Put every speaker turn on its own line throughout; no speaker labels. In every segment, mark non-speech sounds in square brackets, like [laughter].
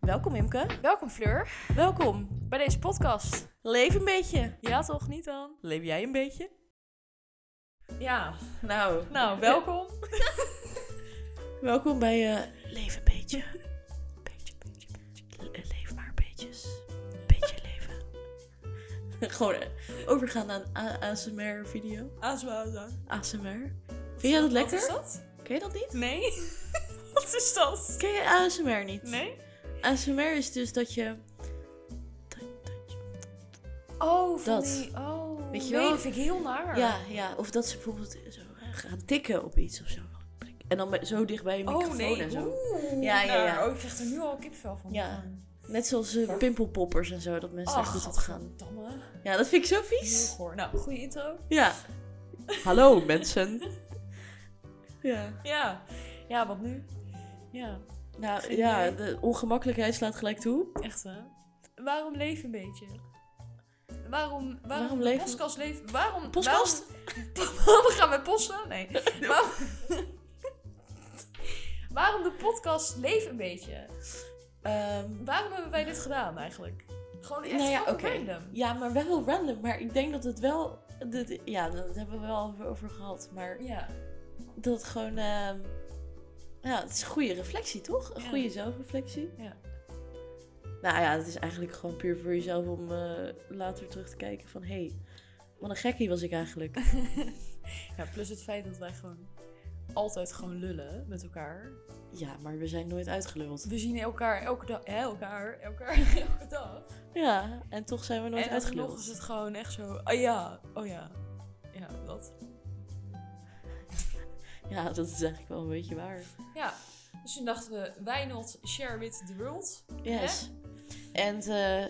Welkom Imke.
Welkom Fleur,
Welkom.
bij deze podcast.
Leef een beetje.
Ja toch, niet dan?
Leef jij een beetje?
Ja.
Nou, [laughs]
Nou, welkom.
welkom bij eh, Leef een
[laughs]
beetje. Beetje, beetje, beetje. Le- leef maar beetjes. Beetje leven. [laughs] Gewoon eh, overgaan naar een A- ASMR video.
Aanzwouwen.
ASMR. Vind jij dat lekker?
Wat is dat?
Ken je dat niet? [laughs]
Nee. Wat is dat?
Ken je ASMR niet?
Nee.
ASMR is dus dat je... dat- dat je-
Oh, van
Dat.
die... Oh.
Weet je
nee,
wel?
dat vind ik heel naar.
Ja, ja, of dat ze bijvoorbeeld zo eh, gaan tikken op iets of zo. En dan met- zo dicht bij je microfoon
Oh nee.
en zo.
Oeh.
Ja, ja, ja.
naar. Oh, ik krijg er nu al kipvel van.
Ja. Net zoals eh, pimpelpoppers en zo, dat mensen daar
Ach,
goed op gaan.
Damme.
Ja, dat vind ik zo
Heel
vies.
goor. Nou, goede intro.
Ja. Hallo mensen. Ja.
Ja. Ja, wat nu? Ja,
Nou
Geen
ja,
idee.
de ongemakkelijkheid slaat gelijk toe.
echt hè. Waarom leef een beetje? Waarom,
Waarom
waarom,
leven-
waarom podcast leven? Waarom,
Podcast?
[laughs] Waarom, we gaan met posten?
[laughs]
Nee. Waarom, [laughs] waarom de podcast Leef een beetje?
Ehm,
Waarom hebben wij dit gedaan eigenlijk? Gewoon echt
Nou ja,
fucking
oké.
random.
ja, maar wel random. Maar ik denk dat het wel... dat- ja, daar hebben we wel over- over gehad. Maar
Ja,
dat het gewoon... ehm, ja, het is een goede reflectie, toch? Een
Ja.
goede zelfreflectie.
Ja.
Nou ja, het is eigenlijk gewoon puur voor jezelf om eh, later terug te kijken van... Hé, hey, wat een gekkie was ik eigenlijk.
[laughs] ja. Plus het feit dat wij gewoon altijd gewoon lullen met elkaar.
Ja, maar we zijn nooit uitgeluld.
We zien elkaar elke dag, hè, elkaar, elkaar, [laughs] elke dag.
Ja, en toch zijn we nooit
en dan nog
uitgeluld.
is het gewoon echt zo, ah ja, oh ja. Ja, dat.
Ja, dat is eigenlijk wel een beetje waar.
Ja, dus toen dachten we, why not share with the world?
Yes. En eh,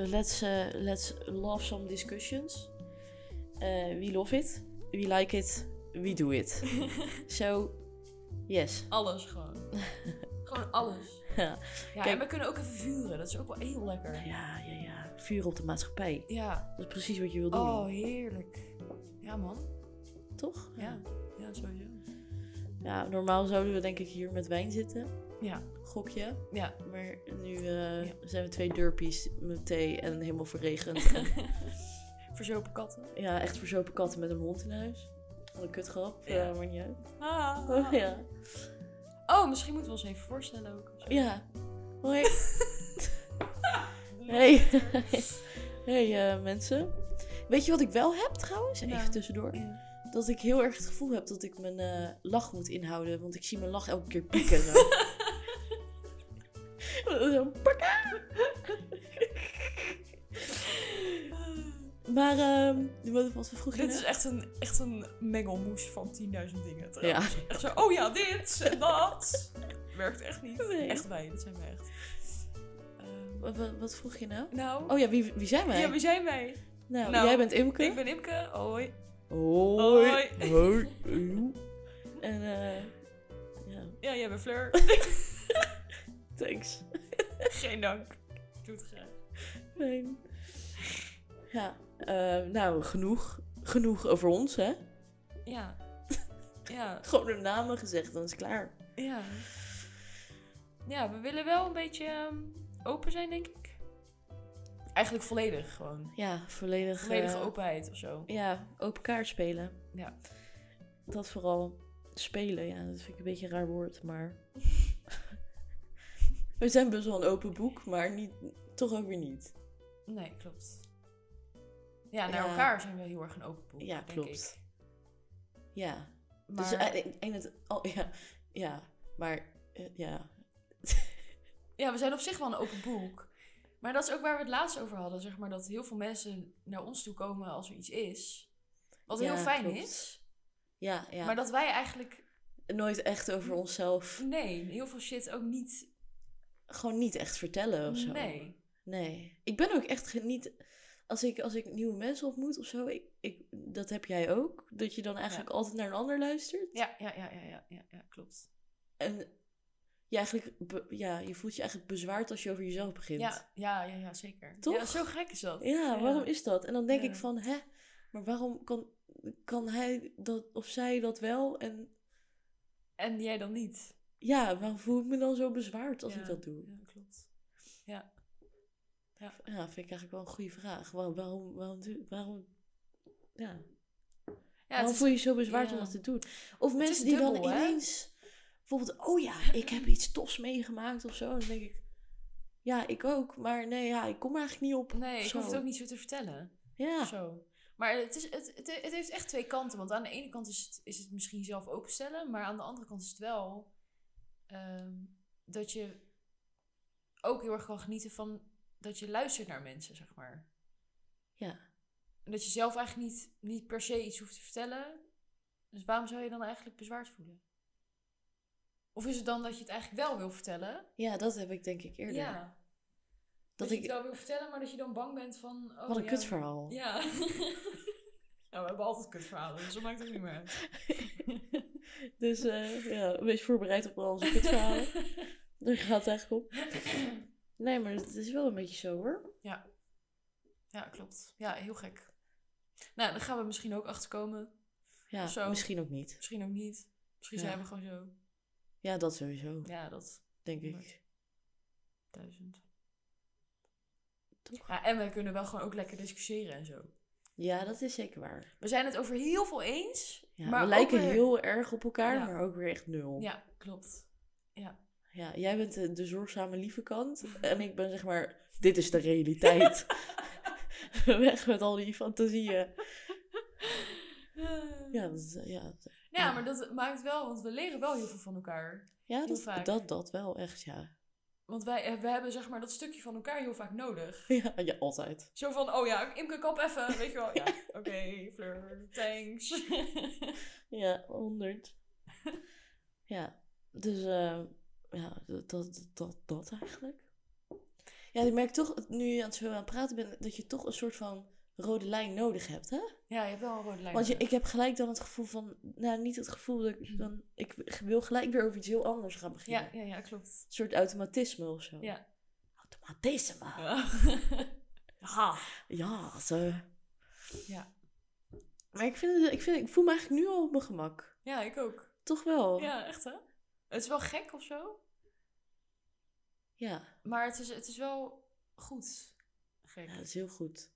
eh, let's, eh, let's love some discussions. Eh, we love it. We like it. We do
[laughs]
it. so, yes.
Alles
[laughs]
gewoon. gewoon alles.
Ja.
Ja,
Kijk-
en we kunnen ook even vuren, dat is ook wel heel lekker.
Nou Ja, ja, ja. Vuur op de maatschappij.
Ja,
Dat is precies wat je wil doen,
oh heerlijk. Ja man,
toch?
ja. Ja, sowieso.
Ja, normaal zouden we denk ik hier met wijn zitten.
Ja,
Gokje.
ja.
Maar nu eh,
Ja.
zijn we twee derpies met thee en helemaal verregend.
[laughs]
En
Verzopen katten.
Ja, echt verzopen katten met een hond in huis. Wat een kutgrap,
Ja.
ja. maar niet uit.
Ah.
Oh, ja.
Oh, misschien moeten we ons even voorstellen ook.
ja. Hoi.
[laughs]
Hey. [laughs] hey eh, mensen. Weet je wat ik wel heb trouwens?
Nou.
Even tussendoor. Dat ik heel erg het gevoel heb dat ik mijn eh, lach moet inhouden. Want ik zie mijn lach elke keer pieken.
[laughs]
Zo. Zo, pakka! maar, ehm wat, wat vroeg je
Dit
nou?
is echt een, echt een mengelmoes van 10.000 dingen
Ja.
trouwens. Echt zo, oh ja, dit en dat. Werkt echt niet.
Nee.
Echt wij, dat zijn wij echt. Ehm,
Wat, wat- wat vroeg je nou?
nou,
Oh ja, wie, wie zijn wij?
ja, wie zijn wij?
Nou,
Nou,
jij bent Imke.
Ik ben Imke. Hoi.
Hoi.
Hoi. [laughs]
Hoi. Joe. En eh ja,
Ja, jij bent Fleur.
thanks.
[laughs] Geen dank. Ik doe het graag.
Fijn. Ja, eh, nou genoeg. Genoeg over ons, hè?
Ja. Ja.
Gewoon de namen gezegd, dan is het klaar.
Ja. Ja, we willen wel een beetje ehm, open zijn, denk ik. Eigenlijk volledig gewoon.
Ja, volledig.
Volledige
eh,
openheid of zo.
Ja, open kaart spelen.
Ja.
Dat vooral. Spelen, ja, dat vind ik een beetje een raar woord, maar. [laughs] We zijn best wel een open boek, maar niet, toch ook weer niet.
Nee, klopt. Ja, naar
Ja.
elkaar zijn we heel erg een open boek,
Ja,
denk
klopt.
ik.
Ja,
Maar,
Dus eh, in- in het... Oh, ja, ja, maar... eh, ja.
ja, we zijn op zich wel een open boek. Maar dat is ook waar we het laatst over hadden, zeg maar. Dat heel veel mensen naar ons toe komen als er iets is. Wat
Ja,
heel fijn
klopt.
is.
Ja, ja.
Maar dat wij eigenlijk,
Nooit echt over onszelf...
nee, heel veel shit ook niet,
Gewoon niet echt vertellen of zo.
nee.
Nee. Ik ben ook echt ge- niet... Als ik, als ik nieuwe mensen ontmoet of zo... Ik, ik, dat heb jij ook. Dat je dan eigenlijk altijd naar een ander luistert.
Ja, ja, ja, ja, ja, ja, ja klopt.
En je eigenlijk... be- ja, je voelt je eigenlijk bezwaard als je over jezelf begint.
Ja, ja, ja, ja, zeker.
Toch?
Ja, zo gek is dat.
Ja, waarom is dat? En dan denk
Ja.
ik van, hè, maar waarom kan, kan hij dat of zij dat wel en
En jij dan niet.
ja, waarom voel ik me dan zo bezwaard als
Ja,
ik dat doe?
Ja, klopt. Ja. Ja.
Ja, vind ik eigenlijk wel een goede vraag. Waarom, waarom, waarom, doe- waarom, ja.
het
waarom
is-
voel je je zo bezwaard om
ja.
dat te doen? Of mensen
is
die
dubbel,
dan
hè?
ineens, bijvoorbeeld, oh ja, ik heb iets tofs meegemaakt of zo. En dan denk ik, ja, ik ook, maar nee, ja, ik kom er eigenlijk niet op.
Nee, ik
Zo.
hoef het ook niet zo te vertellen.
Ja,
Zo. Maar het, is, het, het, het heeft echt twee kanten. Want aan de ene kant is het, is het misschien zelf openstellen. Maar aan de andere kant is het wel ehm, dat je ook heel erg kan genieten van dat je luistert naar mensen, zeg maar.
ja,
En dat je zelf eigenlijk niet, niet per se iets hoeft te vertellen. Dus waarom zou je dan eigenlijk bezwaard voelen? Of is het dan dat je het eigenlijk wel wil vertellen?
ja, dat heb ik denk ik eerder.
Ja. Dat,
dat
je het
ik,
wel wil vertellen, maar dat je dan bang bent van... Oh,
wat een
ja,
kutverhaal.
Ja. nou, we hebben altijd kutverhalen, dus dat maakt het niet meer uit.
[laughs] Dus eh, ja, wees voorbereid op al onze
[laughs]
kutverhalen. Daar gaat het eigenlijk op. Nee, maar het is wel een beetje zo hoor.
Ja, klopt. Ja, heel gek. Nou, daar gaan we misschien ook achter komen.
Ja,
Zo.
misschien ook niet.
Misschien ook niet. Misschien
Ja.
zijn we gewoon zo.
Ja, dat sowieso,
Ja, dat
denk ik.
honderd. duizend.
Toch?
Ja, en we kunnen wel gewoon ook lekker discussiëren en zo.
Ja, dat is zeker waar.
We zijn het over heel veel eens.
Ja,
maar
we lijken
ook weer-
heel erg op elkaar,
Ja.
maar ook weer echt nul. Ja.
Ja, klopt.
jij bent eh, de, de zorgzame lieve kant en ik ben zeg maar, dit is de
[laughs]
realiteit. Weg met al die fantasieën. Ja, dat, eh, ja,
Ja, maar dat maakt wel, want we leren wel heel veel van elkaar.
ja
Heel
dat,
vaak.
dat, dat wel echt, ja.
Want wij eh, we hebben zeg maar dat stukje van elkaar heel vaak
[laughs]
nodig.
Ja, ja altijd.
Zo van, oh ja, Imke, kap even, weet je wel. Ja,
[laughs]
oké, Fleur, thanks.
Ja, 100. [laughs] ja, dus eh, ja, dat, dat, dat, dat eigenlijk. Ja, ik merk toch, nu je aan het zo aan het praten bent, dat je toch een soort van rode lijn nodig hebt, hè?
Ja, je hebt wel een rode lijn.
Want je,
nodig.
ik heb gelijk dan het gevoel van, nou niet het gevoel dat ik dan, ik wil gelijk weer over iets heel anders gaan beginnen.
Mhm. Ja, ja, ja, klopt.
Een soort automatisme of zo.
Ja.
Automatisme. Ja, [laughs]
Ja. ha.
zo.
Ja.
Maar ik, vind het, ik, vind, ik voel me eigenlijk nu al op mijn gemak.
ja, ik ook.
Toch wel?
Ja, echt hè? Het is wel gek of zo,
ja.
maar het is, het is wel goed. Gek.
Ja, dat is heel goed.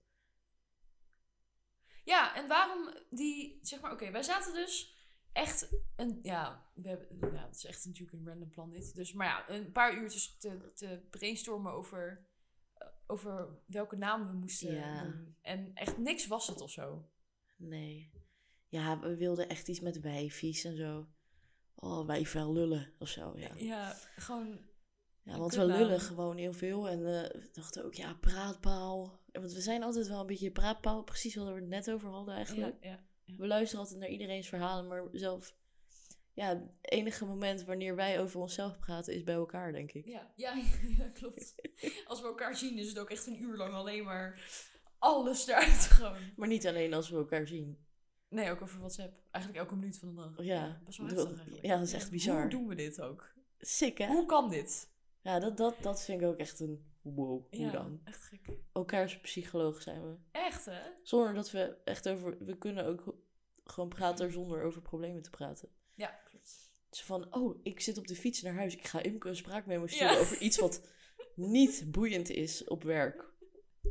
Ja, en waarom die, zeg maar, oké, wij zaten dus echt een, ja, we hebben, ja, het is echt natuurlijk een random plan dit. Dus, maar ja, een paar uurtjes te, te brainstormen over, eh, over welke naam we moesten
Ja.
doen. En echt niks was het of zo.
Nee. Ja, we wilden echt iets met wijfies en zo. Oh, wijven en lullen of zo, ja.
Ja, gewoon,
Ja,
een
want we
kutnaam.
lullen gewoon heel veel. En eh, we dachten ook, ja, praatpaal. En Want we zijn altijd wel een beetje praatpaal. Precies wat we het net over hadden eigenlijk.
ja, ja,
We luisteren altijd naar iedereen's verhalen. Maar zelf... Ja, het enige moment wanneer wij over onszelf praten is bij elkaar, denk ik.
ja, ja, [laughs] ja, klopt. Als we elkaar zien is het ook echt een uur lang alleen maar alles eruit [laughs] gewoon.
Maar niet alleen als we elkaar zien.
Nee, ook over WhatsApp. Eigenlijk elke minuut van de dag.
Ja,
Best wel
dat-
heftig eigenlijk.
ja, dat is echt bizar.
Hoe doen we dit ook?
Sick, hè?
Hoe kan dit?
Ja, dat, dat, dat vind ik ook echt een wow, hoe
ja,
dan?
echt gek.
Elkaars psycholoog zijn we.
Echt, hè?
Zonder dat we echt over. We kunnen ook gewoon
Mhm.
praten zonder over problemen te praten.
Ja, klopt.
Dus van, oh, ik zit op de fiets naar huis. Ik ga Imke een spraakmemo sturen
Ja.
over iets wat
[laughs]
niet boeiend is op werk.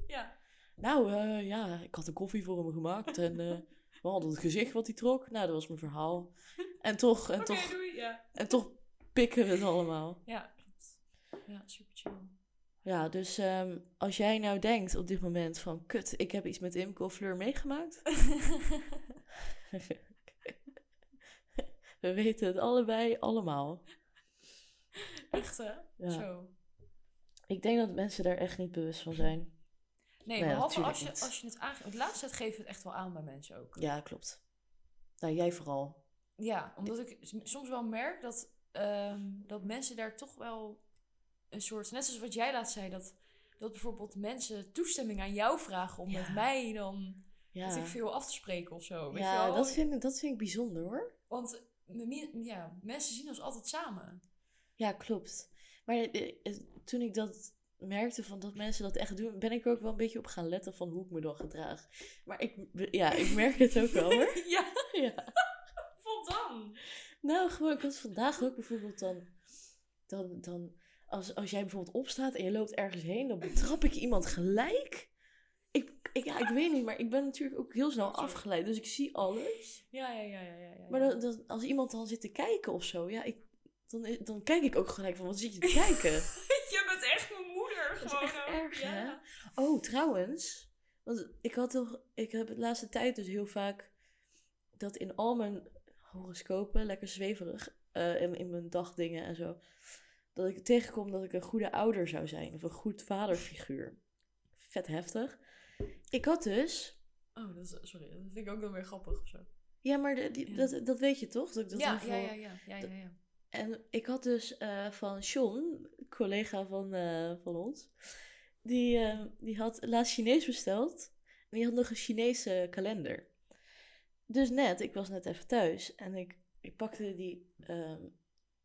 Ja.
Nou, eh, ja, ik had een koffie voor hem gemaakt. En eh, we hadden het gezicht wat hij trok. Nou, dat was mijn verhaal. En toch, en
Oké,
toch,
doei. Ja.
en toch pikken we het allemaal.
ja, klopt. Ja, super chill.
[laughs] Ja, dus ehm, als jij nou denkt op dit moment van... Kut, ik heb iets met Imke of Fleur meegemaakt. we weten het allebei allemaal.
echt, hè?
Ja.
Zo.
Ik denk dat mensen daar echt niet bewust van zijn.
Nee,
Nee,
behalve
natuurlijk
als je,
Nou niet.
als je het aangeeft. Want laatst tijd geven we het echt wel aan bij mensen ook.
Ja, klopt. Nou, jij vooral.
Ja, omdat ik s- soms wel merk dat, ehm, dat mensen daar toch wel een soort... Net zoals wat jij laatst zei, dat, dat bijvoorbeeld mensen toestemming aan jou vragen... om
Ja.
met mij dan,
Ja,
weet Dus ik veel, af te spreken of zo. Weet je
ja
wel?
dat, vind, ik- dat vind ik bijzonder hoor.
Want me- ja, mensen zien ons altijd samen.
Ja, klopt. Maar eh, eh, toen ik dat merkte van dat mensen dat echt doen... ben ik er ook wel een beetje op gaan letten van hoe ik me dan gedraag. Maar ik, ja, ik merk het ook wel hoor.
[laughs] ja,
Ja.
wat dan?
Nou, gewoon, ik had vandaag ook bijvoorbeeld dan, dan, dan als, als jij bijvoorbeeld opstaat en je loopt ergens heen, dan betrap ik iemand gelijk. Ik, ik, ja, ik weet niet, maar ik ben natuurlijk ook heel snel afgeleid, dus ik zie alles.
Ja, ja, ja, ja, ja. ja.
Maar dan, dan- als iemand dan zit te kijken of zo, ja, ik, dan, is- dan kijk ik ook gelijk van, wat zit je te kijken?
[laughs] Je bent echt mijn moeder
is
gewoon.
echt
ook.
erg,
ja.
hè? Oh, trouwens. Want ik had toch. Ik heb de laatste tijd dus heel vaak. dat in al mijn horoscopen, lekker zweverig. eh, in, in mijn dagdingen en zo. dat ik tegenkom dat ik een goede ouder zou zijn. of een goed vaderfiguur. Vet heftig. Ik had dus.
Oh, dat is, sorry. Dat vind ik ook wel weer grappig of zo.
Ja, maar de- die-
Ja.
dat, dat weet je toch? Dat ik dat
ja,
heel
ja,
veel-
ja, ja, ja, ja, ja.
En ik had dus eh, van Sean, collega van, eh, van ons, die, eh, die had laatst Chinees besteld. En die had nog een Chinese kalender. Dus net, ik was net even thuis en ik, ik, pakte, die, ehm,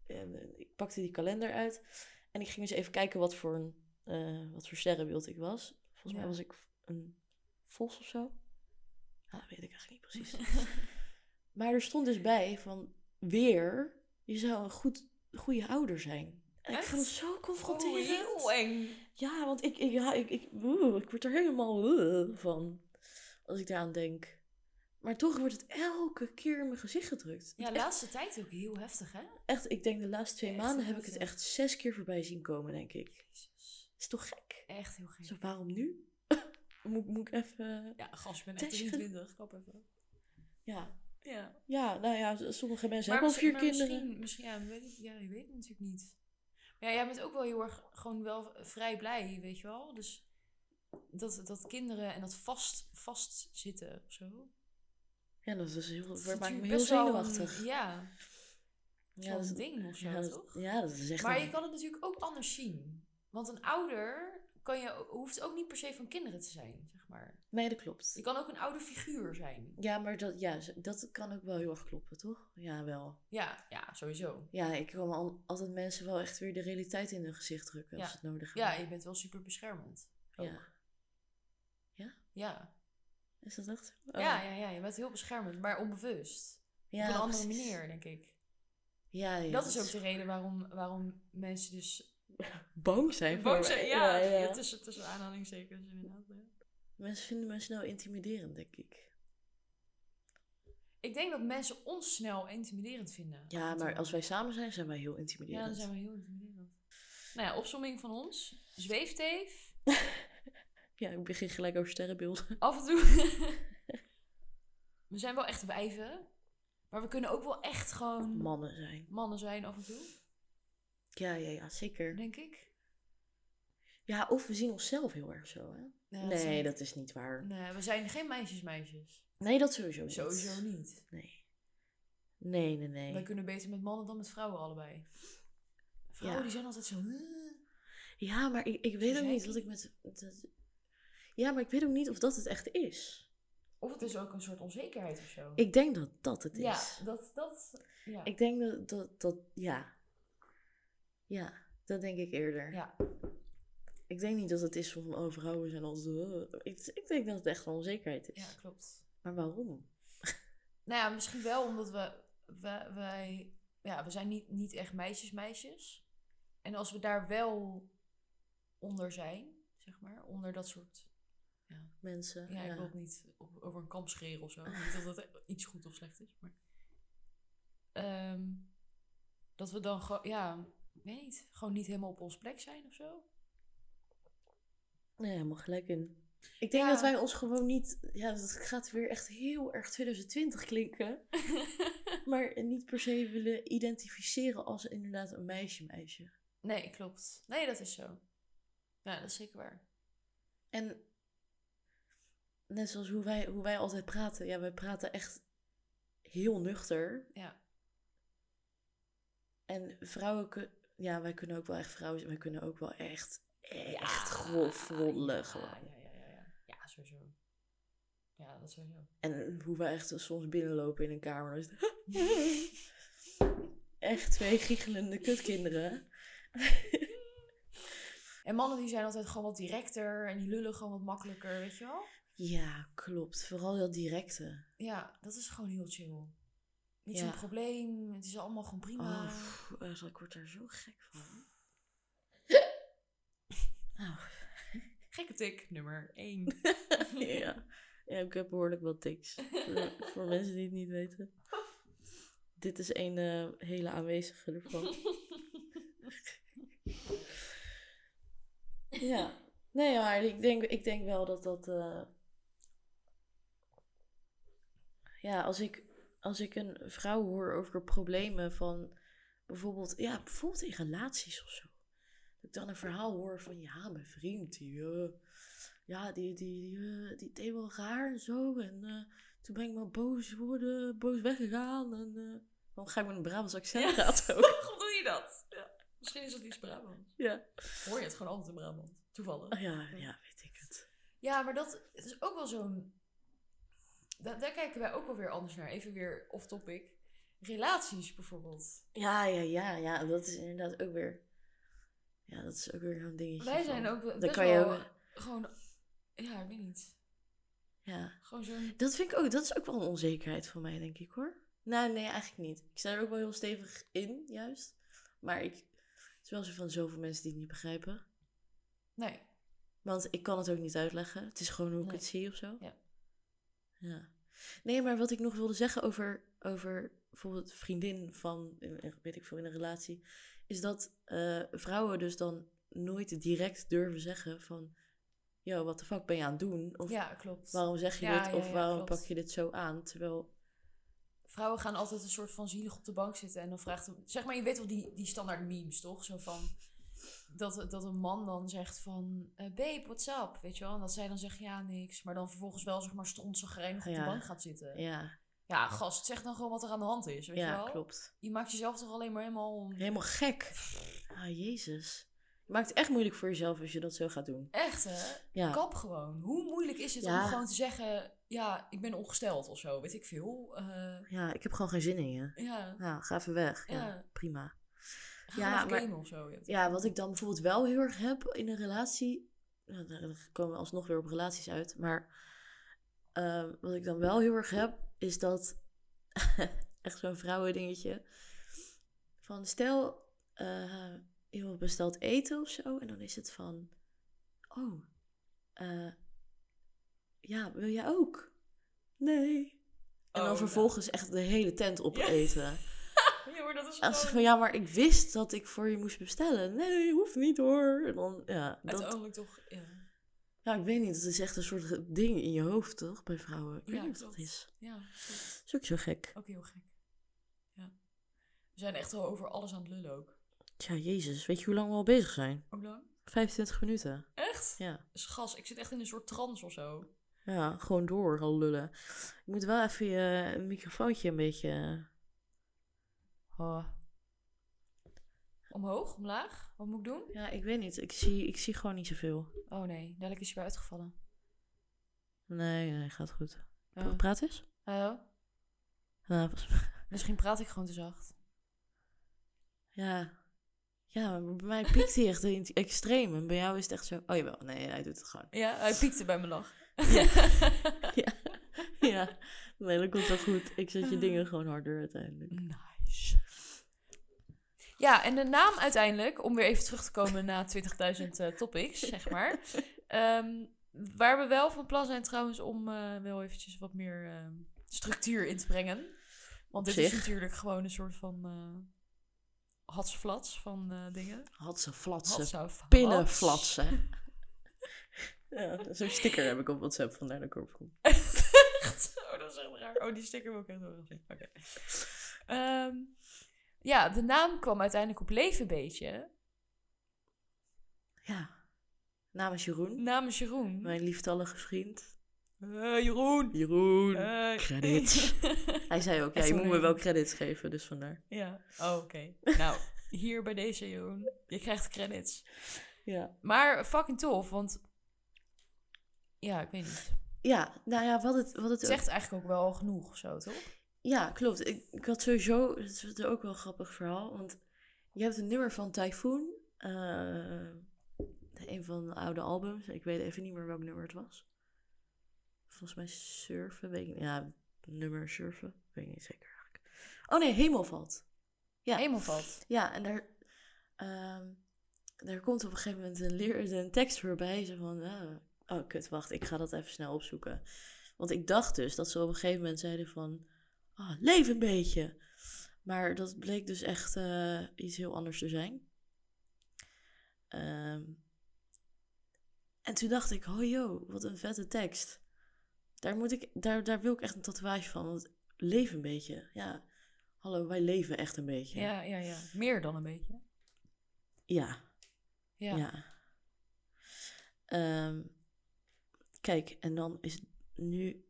en, eh, ik pakte die kalender uit. En ik ging eens even kijken wat voor, een, eh, wat voor sterrenbeeld ik was. Volgens mij
Ja.
was ik een vos of zo. Ah, dat weet ik eigenlijk niet precies. Maar er stond dus bij van weer, je zou een goed, goede ouder zijn. En ik
Echt?
vond het zo
Oh,
confronterend.
heel eng.
ja, want ik, ik, ja, ik, ik, oeh, ik word er helemaal oeh, van als ik daaraan denk. Maar toch wordt het elke keer in mijn gezicht gedrukt.
Ja,
echt,
laatste tijd ook heel heftig, hè?
echt, ik denk de laatste twee
Echt
maanden heb ik het
heftig.
echt zes keer voorbij zien komen, denk ik.
Jezus.
Is toch gek?
Echt heel gek.
Zo, waarom nu? [laughs] moet, moet ik even...
Ja, gas, ik ben echt
Tegen-
23. Kap even.
Ja,
Ja.
ja nou ja, s- sommige mensen hebben al
Maar misschien-
vier
maar
kinderen.
Misschien, misschien ja, weet ik, ja, je weet het natuurlijk niet. Maar ja, jij bent ook wel heel erg gewoon wel vrij blij, weet je wel? Dus dat, dat kinderen en dat vast, vastzitten of zo.
Ja, dat is heel,
dat
dat
is
maakt me
natuurlijk
heel
best wel
zenuwachtig.
een- Ja, ja, dat
dat-
is ding of zo,
ja, dat,
toch?
ja, dat is echt.
Maar
een-
je kan het natuurlijk ook anders zien. Want een ouder kan je, hoeft ook niet per se van kinderen te zijn, zeg maar.
Nee, dat
Je
klopt.
kan ook een oude figuur zijn.
Ja, maar dat, ja, z- dat kan ook wel heel erg kloppen, toch? Ja, wel.
Ja, ja, sowieso.
Ja, ik kan al, altijd mensen wel echt weer de realiteit in hun gezicht drukken als
Ja.
het nodig
Ja,
is.
je bent wel super beschermend.
Ja.
ook. Ja.
Is dat echt? zo? Oh.
Ja, ja, ja, je bent heel beschermend, maar onbewust.
Ja,
Op een andere
precies.
manier, denk ik.
Ja, ja,
dat is ook de reden waarom, waarom mensen dus
bang zijn. voor
bang
mij.
zijn. Ja,
ja, ja.
tussen, tussen aanhalingstekens inderdaad. ja.
Mensen vinden me snel intimiderend, denk ik.
Ik denk dat mensen ons snel intimiderend vinden.
Ja, maar als wij samen zijn, zijn wij heel intimiderend.
Ja, dan zijn we heel intimiderend. Nou ja, opzomming van ons. [laughs] Zweefteef.
Ja, ik begin gelijk over sterrenbeelden.
Af en toe. [laughs] we zijn wel echt wijven. Maar we kunnen ook wel echt gewoon
Mannen zijn.
mannen zijn af en toe.
Ja, ja, ja, zeker.
Denk ik.
Ja, of we zien onszelf heel erg zo, hè?
Ja, dat
nee,
zijn-
dat is niet waar.
Nee, we zijn geen meisjesmeisjes.
Nee, dat sowieso niet.
Sowieso niet.
Nee. Nee, nee, nee.
Wij kunnen beter met mannen dan met vrouwen allebei. Vrouwen
Ja.
die zijn altijd zo... "Huh?"
Ja, maar ik, ik weet ook
zei
niet
ik.
wat ik met... Dat... Ja, maar ik weet ook niet of dat het echt is.
Of het is ook een soort onzekerheid of zo.
Ik denk dat dat het is.
ja, dat... dat ja.
Ik denk dat, dat dat... Ja. Ja, dat denk ik eerder.
ja.
Ik denk niet dat het is van... Oh, vrouwen zijn als... Ik, ik denk dat het echt een onzekerheid is.
ja, klopt.
Maar waarom?
Nou ja, misschien wel omdat we... we wij, ja, we zijn niet, niet echt meisjesmeisjes. En als we daar wel onder zijn, zeg maar. Onder dat soort...
Mensen.
Ja, ik wil het niet op- over een kamp scheren of zo. Niet dat dat iets goed of slecht is, maar... Ehm, dat we dan gewoon, ja, ik weet niet, gewoon niet helemaal op ons plek zijn of [laughs] zo.
Nee, helemaal gelijk in. Ik denk
Ja.
dat wij ons gewoon niet... Ja, dat gaat weer echt heel erg 2020 klinken. Maar niet per se willen identificeren als inderdaad een meisje-meisje.
nee, klopt. Nee, dat is zo. Ja, dat is zeker waar.
En net zoals hoe wij, hoe wij altijd praten. Ja, wij praten echt heel nuchter.
Ja.
En vrouwen... kun- Ja, wij kunnen ook wel echt vrouwen zijn. Wij kunnen ook wel echt, echt grof roddelen
Ja,
gewoon.
Ah, ja, ja, ja, ja. Ja, sowieso. Ja, dat sowieso.
En hoe wij echt soms binnenlopen in een kamer. dan is het-
[laughs]
echt twee giechelende kutkinderen.
En mannen die zijn altijd gewoon wat directer en die lullen gewoon wat makkelijker, weet je wel?
Ja, klopt. Vooral dat directe.
Ja, dat is gewoon heel chill. Niet
Ja.
zo'n probleem, het is allemaal gewoon prima.
Oh, pff, echt, ik word er zo gek van. Oh.
Gekke tik, nummer [laughs] 1.
ja. ja, ik heb behoorlijk wat tics. voor, voor mensen die het niet weten. Dit is een eh, hele aanwezige ervan. ja. Nee, maar ik denk, ik denk wel dat dat... eh, Ja, als ik, als ik een vrouw hoor over problemen van... Bijvoorbeeld, ja, bijvoorbeeld in relaties of zo. Dat ik dan een verhaal hoor van... Ja, mijn vriend, die... eh, ja, die, die, die, eh, die deed wel raar en zo. En eh, toen ben ik maar boos geworden, boos weggegaan. En eh dan ga ik met een Brabants accent
Ja.
praten
[laughs]
ook.
Hoe doe je dat? Misschien is dat iets Brabant.
Ja.
Hoor je het gewoon altijd in Brabant. Toevallig.
Oh, ja, ja, weet ik het.
Ja, maar dat het is ook wel zo'n... Da- daar kijken wij ook wel weer anders naar. Even weer off-topic. Relaties bijvoorbeeld.
Ja, ja, ja, ja, dat is inderdaad ook weer. Ja, dat is ook weer zo'n dingetje.
Wij
van-
zijn ook wel-
Dan
best
kan je
wel
ook-
gewoon... Ja, ik weet niet.
Ja.
Gewoon zo'n...
Dat vind ik ook, dat is ook wel een onzekerheid van mij, denk ik hoor. Nou, nee, eigenlijk niet. Ik sta er ook wel heel stevig in, juist. Maar ik. Het is wel zo van zoveel mensen die het niet begrijpen.
Nee.
Want ik kan het ook niet uitleggen. Het is gewoon hoe ik
Nee.
het zie of zo.
Ja.
Ja. Nee, maar wat ik nog wilde zeggen over, over bijvoorbeeld vriendin van, in- weet ik veel, in een relatie, is dat eh, vrouwen dus dan nooit direct durven zeggen van, yo, wat de fuck ben je aan het doen? Of
Ja, klopt.
waarom zeg je
Ja,
dit?
ja,
Of
ja,
waarom
klopt.
pak je dit zo aan? Terwijl,
Vrouwen gaan altijd een soort van zielig op de bank zitten. En dan vraagt... een- Zeg maar, je weet wel die, die standaard memes, toch? Zo van... Dat, dat een man dan zegt van... eh babe, what's up? Weet je wel? En dat zij dan zegt, ja, niks. Maar dan vervolgens wel, zeg maar, strontzagrijnig op
Ja.
de bank gaat zitten. Ja.
ja,
gast, zeg dan gewoon wat er aan de hand is, weet je
ja
wel?
klopt.
Je maakt jezelf toch alleen maar helemaal...
Helemaal gek. Ah, jezus. Je maakt het echt moeilijk voor jezelf als je dat zo gaat doen.
Echt, hè?
Ja.
Kap gewoon. Hoe moeilijk is het
Ja.
om gewoon te zeggen... Ja, ik ben ongesteld of zo, weet ik veel. Eh,
ja, ik heb gewoon geen zin in je.
ja,
Nou, ga even weg. ja.
Ja.
prima.
ga
Ja,
maar
maar-
gamen of zo. weet je.
Ja, wat ik dan bijvoorbeeld wel heel erg heb in een relatie. nou, Daar daar komen we alsnog weer op relaties uit. Maar eh, wat ik dan wel heel erg heb, is dat. [laughs] echt zo'n vrouwendingetje. Van stel, eh, iemand bestelt eten of zo. En dan is het van. Oh, eh, ja, wil jij ook? Nee. En
Oh,
dan
nou.
vervolgens echt de hele tent opeten.
Ja, maar dat is
Als ze
gewoon
van ja, maar ik wist dat ik voor je moest bestellen. Nee, hoeft niet hoor. En dan, ja, dat,
uiteindelijk toch... Ja.
ja, ik weet niet. Dat is echt een soort ding in je hoofd, toch? Bij vrouwen. Ik weet
Ja,
niet wat dat
klopt.
is.
Ja, klopt.
Dat is ook zo gek.
ook heel gek. Ja. We zijn echt wel over alles aan het lullen ook.
Tja, jezus. Weet je hoe lang we al bezig zijn?
Hoe lang?
25 minuten.
Echt?
Ja.
Schat, ik zit echt in een soort trance of zo.
Ja, gewoon door al lullen. Ik moet wel even je microfoontje een beetje... eh, Oh.
Omhoog, omlaag? Wat moet ik doen?
Ja, ik weet niet. Ik zie, ik zie gewoon niet zoveel.
Oh nee, dadelijk is hij weer uitgevallen.
Nee, nee, gaat goed.
Oh.
Praat eens.
Oh.
Ja, volgens
Misschien praat ik gewoon te zacht.
Ja. Ja, maar bij mij piekt hij echt in het extreem. En bij jou is het echt zo... Oh jawel, nee, hij doet het gewoon.
Ja, hij piekte bij mijn lach.
ja. [laughs] ja. Nee, dat komt wel goed. Ik zet je dingen gewoon harder uiteindelijk.
Nice. Ja, en de naam uiteindelijk, om weer even terug te komen na 20.000 eh, topics,
[laughs]
zeg maar. Ehm, waar we wel van plan zijn trouwens om eh, wel eventjes wat meer ehm, structuur in te brengen. Want
Op
dit is
zich.
natuurlijk gewoon een soort van eh hatsflats van eh, dingen.
Had ze flatsen.
Hatsaflats.
Pillen flatsen. [laughs] ja, zo'n sticker heb ik op WhatsApp van naar de korpgroep.
Echt? [laughs] Oh, dat is echt raar. Oh, die sticker wil ik echt wel graag zien. Oké. Ehm, ja, de naam kwam uiteindelijk op Levenbeetje
Ja. Namens Jeroen.
namens Jeroen.
Mijn lieftallige vriend.
Eh, Jeroen!
Jeroen.
Eh.
Credits. Hij zei ook, ja,
Echt
je
zo'n
moet me
ding.
wel credits geven, dus vandaar.
[laughs] ja, oh, oké. Nou, hier bij deze Jeroen. Je krijgt credits.
Ja.
Maar fucking tof, want... Ja, ik weet niet.
Ja, nou ja, wat het, wat het
Het zegt eigenlijk ook wel al genoeg of zo, toch?
Ja, klopt. Ik, ik had sowieso, het is ook wel een grappig verhaal, want je hebt een nummer van Typhoon, eh, een van de oude albums. Ik weet even niet meer welk nummer het was. Volgens mij Surfen, weet ik niet. Ja, nummer Surfen, weet ik niet zeker eigenlijk. Oh nee, Hemel valt. Ja.
Hemelvalt.
Ja, en daar, ehm, daar komt op een gegeven moment een, leer, een tekst voorbij. Zo van, ah, oh kut, wacht, ik ga dat even snel opzoeken. Want ik dacht dus dat ze op een gegeven moment zeiden van, ah, leef een beetje. Maar dat bleek dus echt eh, iets heel anders te zijn. Ehm, en toen dacht ik, oh joh, wat een vette tekst. Daar, moet ik, daar, daar wil ik echt een tatoeage van. Want leef een beetje. Ja, hallo, wij leven echt een beetje.
Ja, ja, ja. Meer dan een beetje.
ja.
Ja.
Ja. Ehm, kijk, en dan is nu,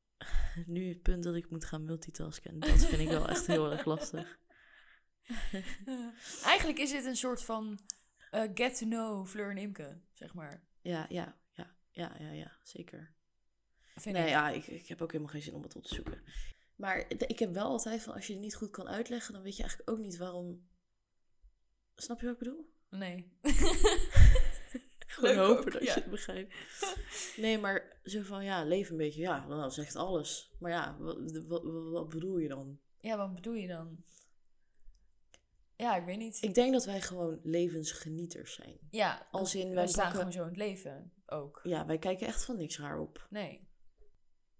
[laughs] nu het punt dat ik moet gaan multitasken. En dat vind ik wel echt heel erg lastig.
Eigenlijk is dit een soort van eh, get to know Fleur en Imke, zeg
[laughs]
maar.
Ja, ja, ja, ja, ja, ja zeker.
Vind
nee,
ik.
ja, ik, ik heb ook helemaal geen zin om het op te zoeken. Maar de- ik heb wel altijd van, als je het niet goed kan uitleggen, dan weet je eigenlijk ook niet waarom... Snap je wat ik bedoel?
Nee.
Gewoon
Leuk
hopen
ook,
dat
ja.
je het begrijpt. Nee, maar zo van, ja, leef een beetje. Ja, nou, dat zegt alles. Maar ja, wat, wat, wat bedoel je dan?
Ja, wat bedoel je dan? Ja, ik weet niet.
Ik denk dat wij gewoon levensgenieters zijn.
ja,
Als in,
wij
wij
staan
pakken...
gewoon zo in het leven ook.
Ja, wij kijken echt van niks raar op.
Nee.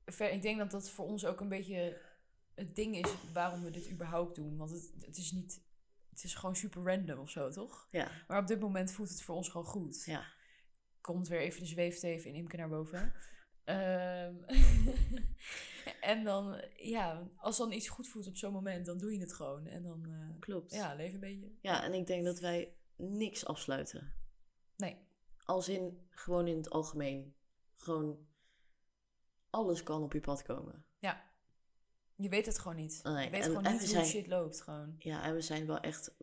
Ver, ik denk dat dat voor ons ook een beetje het ding is waarom we dit überhaupt doen. Want het, het is niet... Het is gewoon super random of zo, toch?
Ja,
Maar op dit moment voelt het voor ons gewoon goed.
ja.
komt weer even de zweefteven in Imke naar
[laughs]
boven. Ehm, [laughs] en dan, ja, als dan iets goed voelt op zo'n moment, dan doe je het gewoon. En dan, eh,
klopt. Ja.
ja, leef een beetje.
en ik denk dat wij niks afsluiten.
Nee,
Als in, gewoon in het algemeen. Gewoon, alles kan op je pad komen.
je weet het gewoon niet.
Nee,
je weet
en-
gewoon
en
niet
we
hoe
zijn-
shit loopt, gewoon.
Ja, en we zijn wel echt...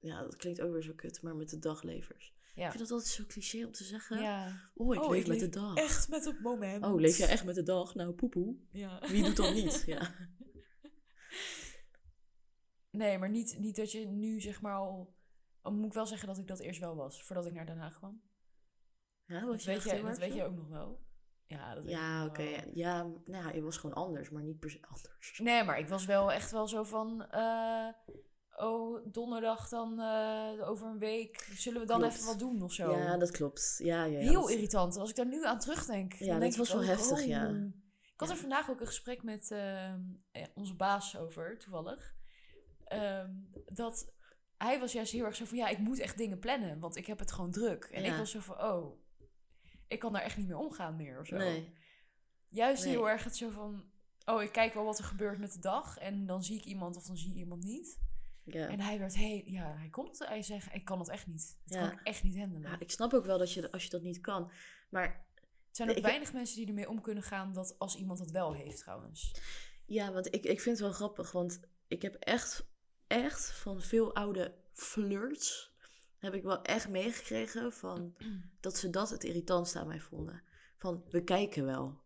Ja, dat klinkt ook weer zo kut, maar met de daglevers.
Ja.
Ik vind dat altijd zo cliché om te zeggen.
Ja,
Oh, ik
Oh,
leef
ik
met
leef
de dag.
echt met het moment.
Oh, leef jij echt met de dag? Nou, poepoe.
Ja.
Wie doet dat
[laughs]
niet? Ja.
Nee, maar niet, niet dat je nu, zeg maar, al... al moet ik wel zeggen dat ik dat eerst wel was, voordat ik naar Den Haag kwam.
ja
Dat,
was je
weet, je, dat
achterwerk
weet
dan?
je ook nog wel. Ja, dat weet ik
Ja,
nog
oké.
wel.
Ja, nou, ja, je was gewoon anders, maar niet per se [laughs] anders.
Nee, maar ik was wel echt wel zo van... eh, oh, donderdag dan eh, over een week. Zullen we dan
Klopt.
even wat doen of zo?
Ja, dat klopt. Ja, ja, ja,
Heel
dat-
irritant. Als ik daar nu aan terugdenk.
Ja,
dan
dat
denk
was
ik
wel
ook,
heftig, ja.
Ik had
Ja.
er vandaag ook een gesprek met eh, eh, onze baas over, toevallig. Ehm, dat hij was juist heel erg zo van... Ja, ik moet echt dingen plannen, want ik heb het gewoon druk. En
Ja.
ik was zo van... Oh, ik kan daar echt niet meer omgaan meer of zo.
Nee.
Juist
Nee.
heel erg het zo van... Oh, ik kijk wel wat er gebeurt met de dag. En dan zie ik iemand of dan zie ik iemand niet.
Ja.
En hij werd heel... Ja, hij kon het... Hij zei, ik kan het echt niet. Dat
Ja.
kan ik echt niet handelen.
Ja, ik snap ook wel dat je, als je dat niet kan. Maar
Er zijn ook
ik-
weinig mensen die ermee om kunnen gaan... dat als iemand dat wel heeft, trouwens.
ja, want ik, ik vind het wel grappig. Want ik heb echt, echt van veel oude flirts... heb ik wel echt meegekregen
[clears throat]
van... dat ze dat het irritantste aan mij vonden. Van, we kijken wel.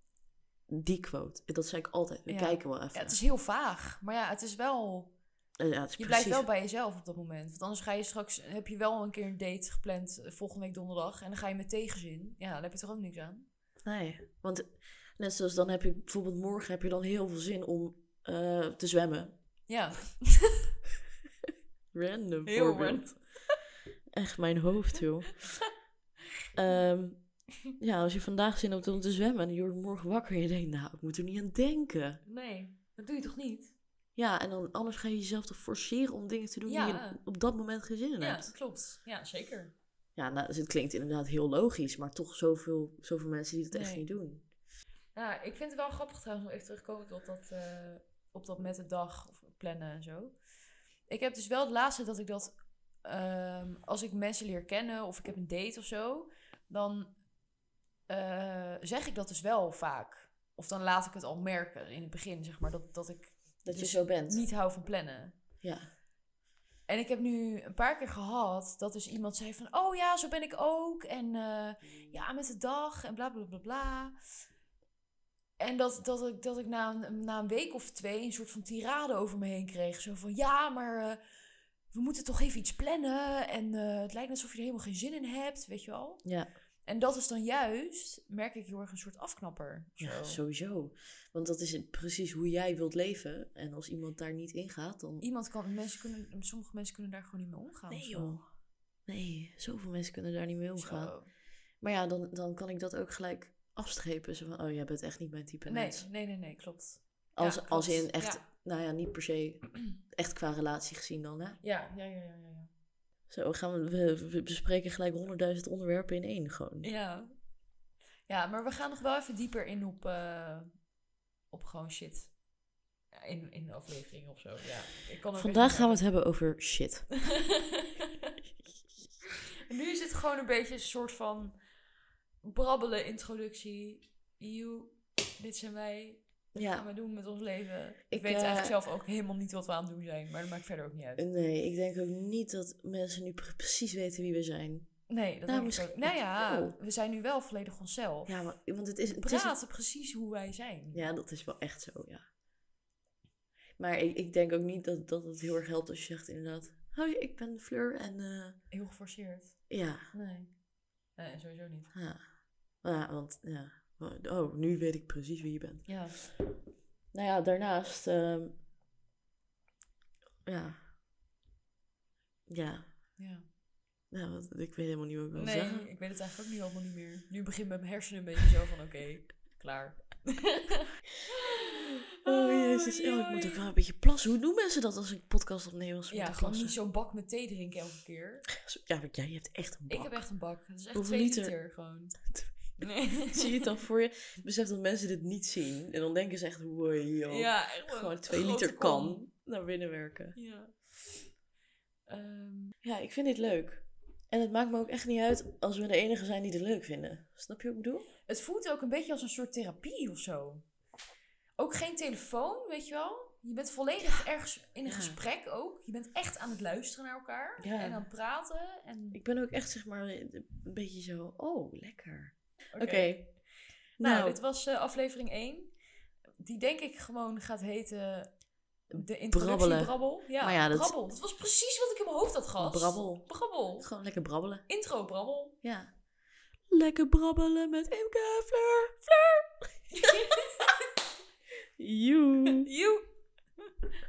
Die quote. Dat zei ik altijd. We
Ja.
kijken wel even.
Ja, het is heel vaag. Maar ja, het is wel...
Eh, ja, het is
Je
precies-
blijft wel bij jezelf op dat moment. Want anders ga je straks... Heb je wel een keer een date gepland eh, volgende week donderdag... en dan ga je met tegenzin. Ja, daar heb je toch ook niks aan?
Nee, want net zoals dan heb je bijvoorbeeld morgen heb je dan heel veel zin om eh, te zwemmen.
Ja,
Random
Heel
voorbeeld. [laughs] Echt mijn hoofd, joh.
[laughs]
Ehm, ja, als je vandaag zin hebt om te zwemmen en je wordt morgen wakker en je denkt, nou, ik moet er niet aan denken.
Nee, dat doe je toch niet?
Ja, en dan anders ga je jezelf toch forceren om dingen te doen die
Ja.
je op dat moment geen zin in
Ja,
hebt.
klopt. Ja, zeker.
Ja, nou, dus het klinkt inderdaad heel logisch, maar toch zoveel, zoveel mensen die dat echt
Nee.
niet doen.
Nou, ik vind het wel grappig trouwens om even terugkomen op dat, eh, op dat met de dag of plannen en zo. Ik heb dus wel het laatste dat ik dat, ehm, als ik mensen leer kennen of ik heb een date of zo, dan eh, zeg ik dat dus wel vaak. Of dan laat ik het al merken in het begin, zeg maar, dat, dat ik
Dat
Dus
je zo bent.
niet hou van plannen.
Ja.
En ik heb nu een paar keer gehad dat dus iemand zei van... Oh ja, zo ben ik ook. En eh,
Mm.
ja, met de dag en bla bla bla bla. En dat, dat ik, dat ik na, een, na een week of twee een soort van tirade over me heen kreeg. Zo van, ja, maar eh, we moeten toch even iets plannen. En eh, het lijkt net alsof je er helemaal geen zin in hebt, weet je wel.
Ja.
En dat is dan juist, merk ik heel erg, een soort afknapper. of
Ja,
zo.
sowieso. Want dat is het- precies hoe jij wilt leven. En als iemand daar niet in gaat, dan...
Iemand kan, mensen kunnen, sommige mensen kunnen daar gewoon niet mee omgaan. of
Nee
zo.
joh. nee, zoveel mensen kunnen daar niet mee omgaan.
Zo.
Maar ja, dan, dan kan ik dat ook gelijk afstrepen. Zo van, oh, jij bent echt niet mijn type
Nee,
mens.
nee, nee, nee, klopt.
Als,
Ja,
als
klopt.
in echt,
Ja.
nou ja, niet per
[clears throat]
se echt qua relatie gezien dan, hè.
Ja, ja, ja, ja, ja. ja.
Zo gaan we, we, we bespreken gelijk honderdduizend onderwerpen in één gewoon.
Ja. Ja, maar we gaan nog wel even dieper in op, eh, op gewoon shit. Ja, In, in de aflevering of zo. Ja, ik kan er
Vandaag
weer-
gaan we het hebben over
[laughs]
shit.
nu is het gewoon een beetje een soort van brabbelen introductie. You, dit zijn wij. Wat gaan
Ja,
we doen met ons leven? Ik,
Ik,
weet
eh,
eigenlijk zelf ook helemaal niet wat we aan het doen zijn. Maar dat maakt verder ook niet uit.
nee, ik denk ook niet dat mensen nu pre- precies weten wie we zijn.
Nee, dat
nou,
denk ik
misschien-
ook. Nou ja,
Oh.
we zijn nu wel volledig onszelf.
Ja, maar, want het is...
we
Het is
praten precies hoe wij zijn.
ja, dat is wel echt zo, ja. Maar ik, ik denk ook niet dat, dat het heel erg helpt als je zegt inderdaad... Hoi, ik ben Fleur en... eh,
Heel geforceerd.
ja,
Nee. Nee, sowieso niet.
ja. Ja, want... Ja. Oh, nu weet ik precies wie je bent.
Ja.
Nou ja, daarnaast. ehm, ja. Ja.
ja.
Nou, wat, ik weet helemaal niet wat ik wil
Nee,
zeggen.
ik weet het eigenlijk ook niet allemaal niet meer. Nu begint mijn hersenen een beetje zo van, oké, [laughs] klaar.
Oh jezus, oh, ik moet ook wel een beetje plassen. Hoe doen mensen dat als ik podcast opneem? Als ze
Ja,
moeten
gewoon niet
plassen?
zo'n bak met thee drinken elke keer.
Ja, want jij hebt echt een bak.
Ik heb echt een bak. Het is echt
Hoeveel
twee liter,
liter?
[laughs] gewoon. Nee.
Zie je het dan voor je? Ik Besef dat mensen dit niet zien. En dan denken ze echt, wow, joh.
Ja, echt wel
Gewoon
een
twee
grote
liter
kom.
kan naar binnen werken.
Ja. Ehm,
Ja, ik vind dit leuk. En het maakt me ook echt niet uit als we de enige zijn die het leuk vinden. Snap je wat ik bedoel?
het voelt ook een beetje als een soort therapie of zo. Ook geen telefoon, weet je wel? Je bent volledig ergens in een
Ja.
gesprek ook. Je bent echt aan het luisteren naar elkaar.
Ja.
En aan het praten. En...
Ik ben ook echt, zeg maar, een beetje zo, oh, lekker.
Oké.
Oké.
Nou,
Nou,
dit was eh, aflevering 1. Die denk ik gewoon gaat heten... eh, De
Brabbelen.
introductiebrabbel. Ja,
Maar ja, dat-
brabbel. Dat was precies wat ik in mijn hoofd had, gehad.
Brabbel.
Brabbel.
Gewoon lekker brabbelen.
Intro brabbel.
Ja. Lekker brabbelen met Imke Fleur. [laughs] Fleur. Joe.
Joe.